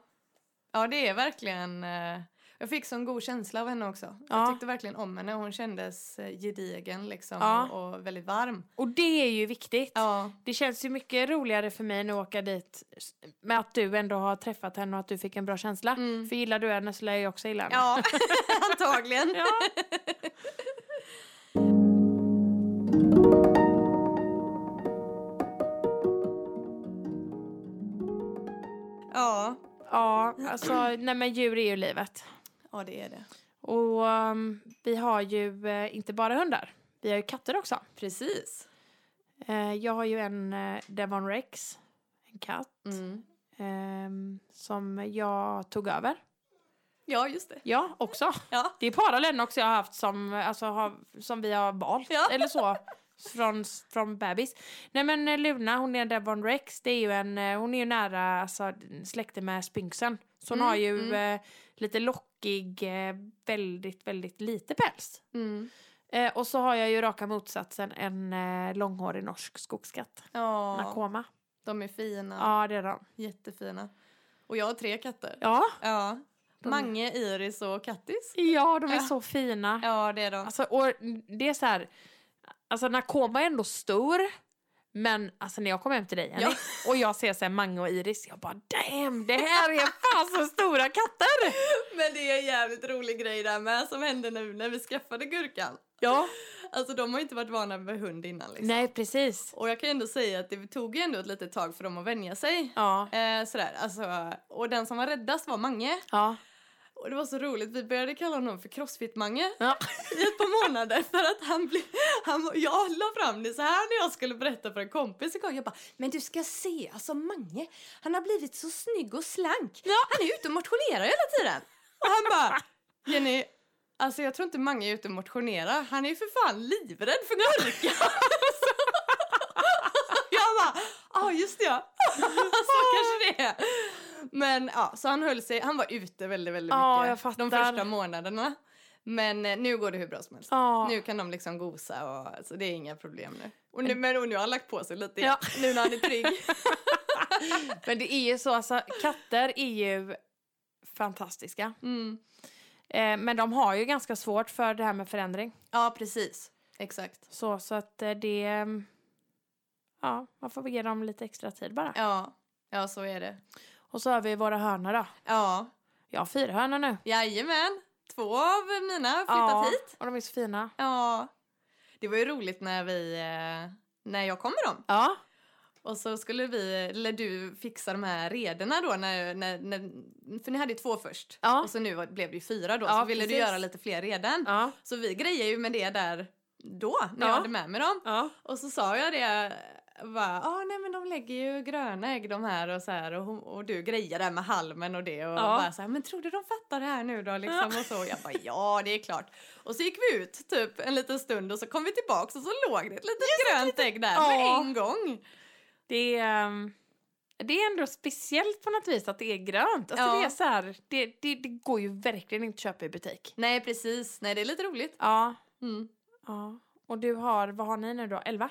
S1: ja, det är verkligen... eh, Jag fick sån god känsla av henne också. Jag
S2: Ja.
S1: tyckte verkligen om henne. Hon kändes eh, gedigen liksom
S2: Ja.
S1: och, och väldigt varm.
S2: Och det är ju viktigt.
S1: Ja,
S2: Det känns ju mycket roligare för mig nu att åka dit s- med att du ändå har träffat henne och att du fick en bra känsla.
S1: Mm.
S2: För gillar du henne så lär jag också gilla henne.
S1: ja antagligen.
S2: Ja.
S1: Ja.
S2: Ja, alltså nej men djur är ju livet.
S1: ja, det är det.
S2: Och ehm, vi har ju eh, inte bara hundar, vi har ju katter också.
S1: Precis.
S2: Eh, jag har ju en eh, Devon Rex, en katt,
S1: Mm.
S2: ehm, som jag tog över.
S1: Ja, just det.
S2: Ja, också.
S1: Ja.
S2: Det är bara Lennox jag har haft som, alltså, har, som vi har valt,
S1: Ja.
S2: eller så. Från, från bebis. Nej men eh, Luna, hon är en Devon Rex. Det är ju en, eh, hon är ju nära alltså, släkte med Sphinxen. Så hon
S1: Mm,
S2: har ju eh, lite lockig, eh, väldigt, väldigt lite päls.
S1: Mm.
S2: Eh, och så har jag ju raka motsatsen, en eh, långhårig norsk skogskatt.
S1: Ja,
S2: Nakoma.
S1: de är fina.
S2: Ja, det är de.
S1: Jättefina. Och jag har tre katter.
S2: Ja,
S1: Ja.
S2: De-
S1: Mange, Iris och Kattis.
S2: ja de är
S1: Ja.
S2: så fina.
S1: Ja, det är de.
S2: Alltså, och det är så här, alltså Nakoma är ändå stor, men alltså när jag kom hem till dig Jenny, och jag ser så här Mange och Iris, jag bara damn, det här är fan så stora katter!
S1: Men det är en jävligt rolig grej där med som hände nu när vi skaffade Gurkan.
S2: Ja,
S1: Alltså de har inte varit vana med hund innan liksom.
S2: nej precis.
S1: Och jag kan ju ändå säga att det tog ju ändå ett litet tag för dem att vänja sig.
S2: Ja,
S1: Eh, sådär, alltså. Och den som var räddast var Mange.
S2: ja,
S1: Och det var så roligt, vi började kalla honom för Crossfit-Mange
S2: ja.
S1: i ett par månader för att han blev... Han, jag la fram det så här när jag skulle berätta för en kompis igår. Jag bara, men du ska se, alltså Mange, han har blivit så snygg och slank. Han är ute och motionerar hela tiden. Och han bara, Jenny, alltså jag tror inte Mange är ute och motionerar. Han är ju för fan livrädd för gurka. jag bara, ja ah, just det ja. så kanske det är. Men ja, så han höll sig, han var ute väldigt, väldigt mycket
S2: Ja, jag fattar.
S1: de första månaderna. Men eh, nu går det hur bra som helst.
S2: ja.
S1: Nu kan de liksom gosa och alltså, det är inga problem nu. Och nu, men och nu har han lagt på sig lite
S2: Ja.
S1: igen, nu när han är trygg.
S2: Men det är ju så, alltså katter är ju fantastiska.
S1: Mm.
S2: Eh, men de har ju ganska svårt för det här med förändring.
S1: Ja, precis. Exakt.
S2: Så, så att eh, det, ehm, ja, man får ge dem lite extra tid bara.
S1: Ja. ja, så är det.
S2: Och så har vi våra hönor då.
S1: Ja,
S2: Jag har fyra hönor nu.
S1: jajamän. Två av mina har flyttat
S2: ja,
S1: hit.
S2: och de är så fina.
S1: Ja. Det var ju roligt när vi, eh, när jag kom med dem.
S2: Ja.
S1: Och så skulle vi, eller du fixa de här rederna då när, när, när för ni hade ju två först.
S2: Ja.
S1: Och så nu var- blev det ju fyra då,
S2: Ja,
S1: så ville du
S2: precis.
S1: göra lite fler reden.
S2: Ja.
S1: Så vi grejade ju med det där då, när
S2: Ja.
S1: jag hade med mig dem.
S2: Ja.
S1: Och så sa jag det, bara, ah, nej men de lägger ju gröna ägg de här och så här och, hon- och du grejer där med halmen och det och
S2: Ja.
S1: bara så här, men tror du de fattar det här nu då liksom och så. Och jag bara, ja det är klart. Och så gick vi ut typ en liten stund och så kom vi tillbaks och så låg det ett litet grönt ägg där
S2: Ja.
S1: med en gång.
S2: Det, är, ehm, det är ändå speciellt på något vis att det är grönt. Alltså
S1: Ja.
S2: det, är så här, det, det, det går ju verkligen inte att köpa i butik.
S1: Nej precis, nej det är lite roligt.
S2: Ja.
S1: Mm.
S2: ja. Och du har, vad har ni nu då? Elva?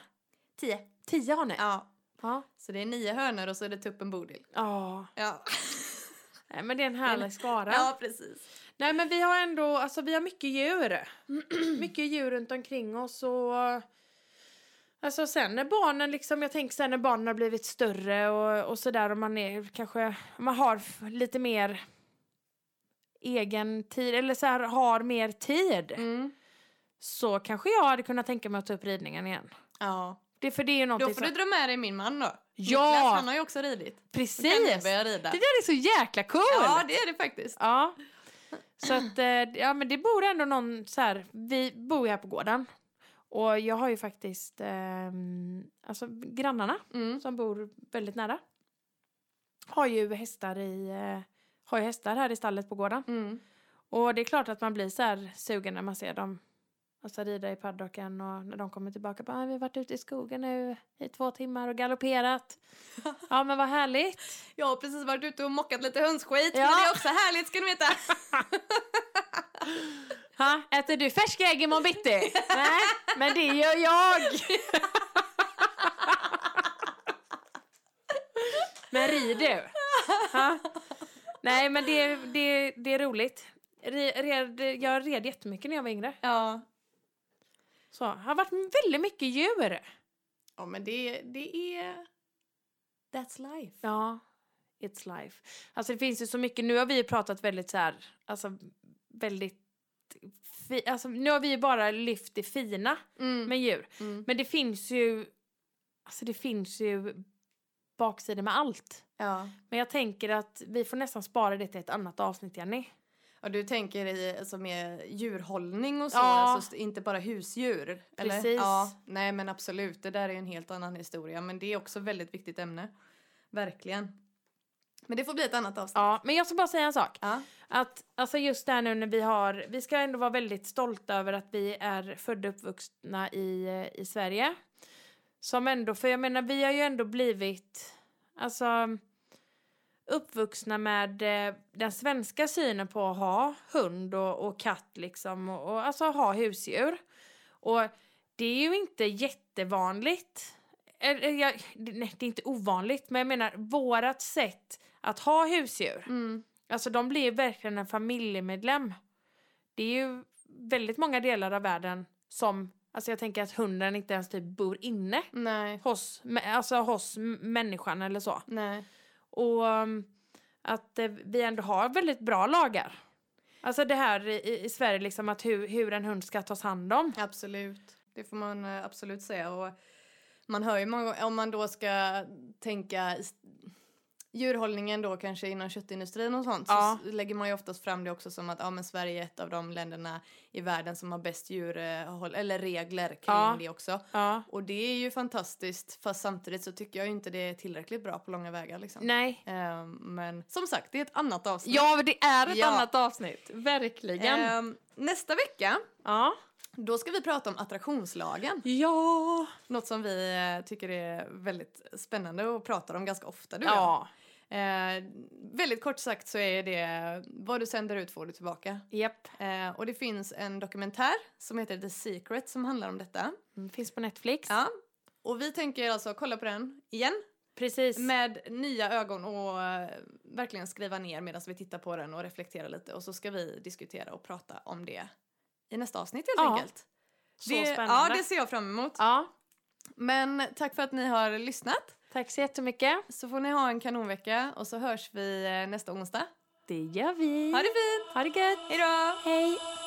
S1: Tio.
S2: Tio har ni?
S1: Ja,
S2: Ja.
S1: så det är nio hönor och så är det tuppen Bodil.
S2: ja.
S1: Ja,
S2: Nej, men det är en härlig skara.
S1: ja precis.
S2: Nej men vi har ändå, alltså vi har mycket djur. mycket djur runt omkring oss och Alltså sen när barnen liksom, jag tänker sen när barnen har blivit större och, och sådär och man är kanske, man har f- lite mer egen tid eller så här, har mer tid.
S1: Mm.
S2: Så kanske jag hade kunnat tänka mig att ta upp ridningen igen.
S1: Ja.
S2: Det, för det är ju någonting
S1: Då får du dra med dig min man då.
S2: Ja!
S1: Niklas, han har ju också ridit. Så kan vi
S2: Precis!
S1: börja rida.
S2: Det där är så jäkla cool!
S1: Ja, det är det faktiskt.
S2: Ja. Så att, eh, ja men det bor ändå någon så här, vi bor ju här på gården. Och jag har ju faktiskt, eh, alltså grannarna
S1: Mm.
S2: som bor väldigt nära. Har ju hästar i, eh, har ju hästar här i stallet på gården.
S1: Mm.
S2: Och det är klart att man blir så här sugen när man ser dem Alltså rida i paddocken och när de kommer tillbaka bara, "Ah, vi har varit ute i skogen nu i två timmar och galopperat. ja men vad härligt.
S1: Jag har precis varit ute och mockat lite hönsskit,
S2: Ja.
S1: men det är också härligt ska ni veta.
S2: Ha, äter du färska ägg imorgon bitti? Nej, men det gör jag. men rid du. Ha? Nej, men det, det, det är roligt. Ri- red- Jag red jättemycket när jag var yngre.
S1: Ja,
S2: Så, har varit väldigt mycket djur.
S1: ja men det, det är... That's life.
S2: Ja, it's life. Alltså det finns ju så mycket, nu har vi ju pratat väldigt så här, alltså väldigt, fi, alltså nu har vi ju bara lyft det fina
S1: Mm.
S2: med djur.
S1: Mm.
S2: Men det finns ju, alltså det finns ju baksidor med allt.
S1: Ja.
S2: Men jag tänker att vi får nästan spara det till ett annat avsnitt, Jenny.
S1: Och du tänker i alltså, mer djurhållning och så,
S2: Ja.
S1: alltså, st- inte bara husdjur? Eller?
S2: Precis.
S1: Ja, nej men absolut, det där är ju en helt annan historia men det är också väldigt viktigt ämne. Verkligen. Men det får bli ett annat avsnitt.
S2: Ja, men jag ska bara säga en sak.
S1: Ja.
S2: Att alltså just där nu när vi har, vi ska ändå vara väldigt stolta över att vi är födda och uppvuxna i, i Sverige. Som ändå, för jag menar vi har ju ändå blivit, alltså uppvuxna med eh, den svenska synen på att ha hund och, och katt liksom och, och alltså ha husdjur. Och det är ju inte jättevanligt. Eller, jag, det- nej, det är inte ovanligt men jag menar vårat sätt att ha husdjur
S1: Mm.
S2: Alltså de blir ju verkligen en familjemedlem. Det är ju väldigt många delar av världen som, alltså jag tänker att hunden inte ens typ bor inne
S1: Nej.
S2: hos, mä- alltså hos m- människan eller så.
S1: Nej.
S2: Och um, att eh, vi ändå har väldigt bra lagar. Alltså det här i, i Sverige liksom att hur, hur en hund ska tas hand om.
S1: Absolut. Det får man eh, absolut säga. Och man hör ju många gånger, om man då ska tänka s- djurhållningen då kanske inom köttindustrin och sånt
S2: Ja.
S1: så s- lägger man ju oftast fram det också som att ja, men Sverige är ett av de länderna i världen som har bäst djurhåll eller regler kring
S2: Ja.
S1: det också.
S2: Ja.
S1: Och det är ju fantastiskt fast samtidigt så tycker jag ju inte det är tillräckligt bra på långa vägar liksom.
S2: Nej.
S1: Ehm, men som sagt, det är ett annat avsnitt.
S2: Ja, men det är ett
S1: Ja.
S2: annat avsnitt. Verkligen.
S1: Ehm, nästa vecka
S2: Ja.
S1: då ska vi prata om attraktionslagen.
S2: Ja.
S1: Något som vi eh, tycker är väldigt spännande och pratar om ganska ofta du och
S2: Ja.
S1: jag. eh, Väldigt kort sagt så är det vad du sänder ut får du tillbaka.
S2: Japp.
S1: Eh, och det finns en dokumentär som heter The Secret som handlar om detta.
S2: Mm, Finns på Netflix.
S1: Ja. Och vi tänker alltså kolla på den igen
S2: Precis.
S1: med nya ögon och eh, verkligen skriva ner medan vi tittar på den och reflekterar lite och så ska vi diskutera och prata om det i nästa avsnitt helt
S2: Ja.
S1: enkelt.
S2: Så
S1: det,
S2: spännande.
S1: Ja, det ser jag fram emot.
S2: Ja,
S1: Men tack för att ni har lyssnat.
S2: tack så jättemycket.
S1: Så får ni ha en kanonvecka och så hörs vi eh, nästa onsdag.
S2: Det gör vi.
S1: Ha det fint!
S2: ha det gött.
S1: Hejdå!
S2: Hej.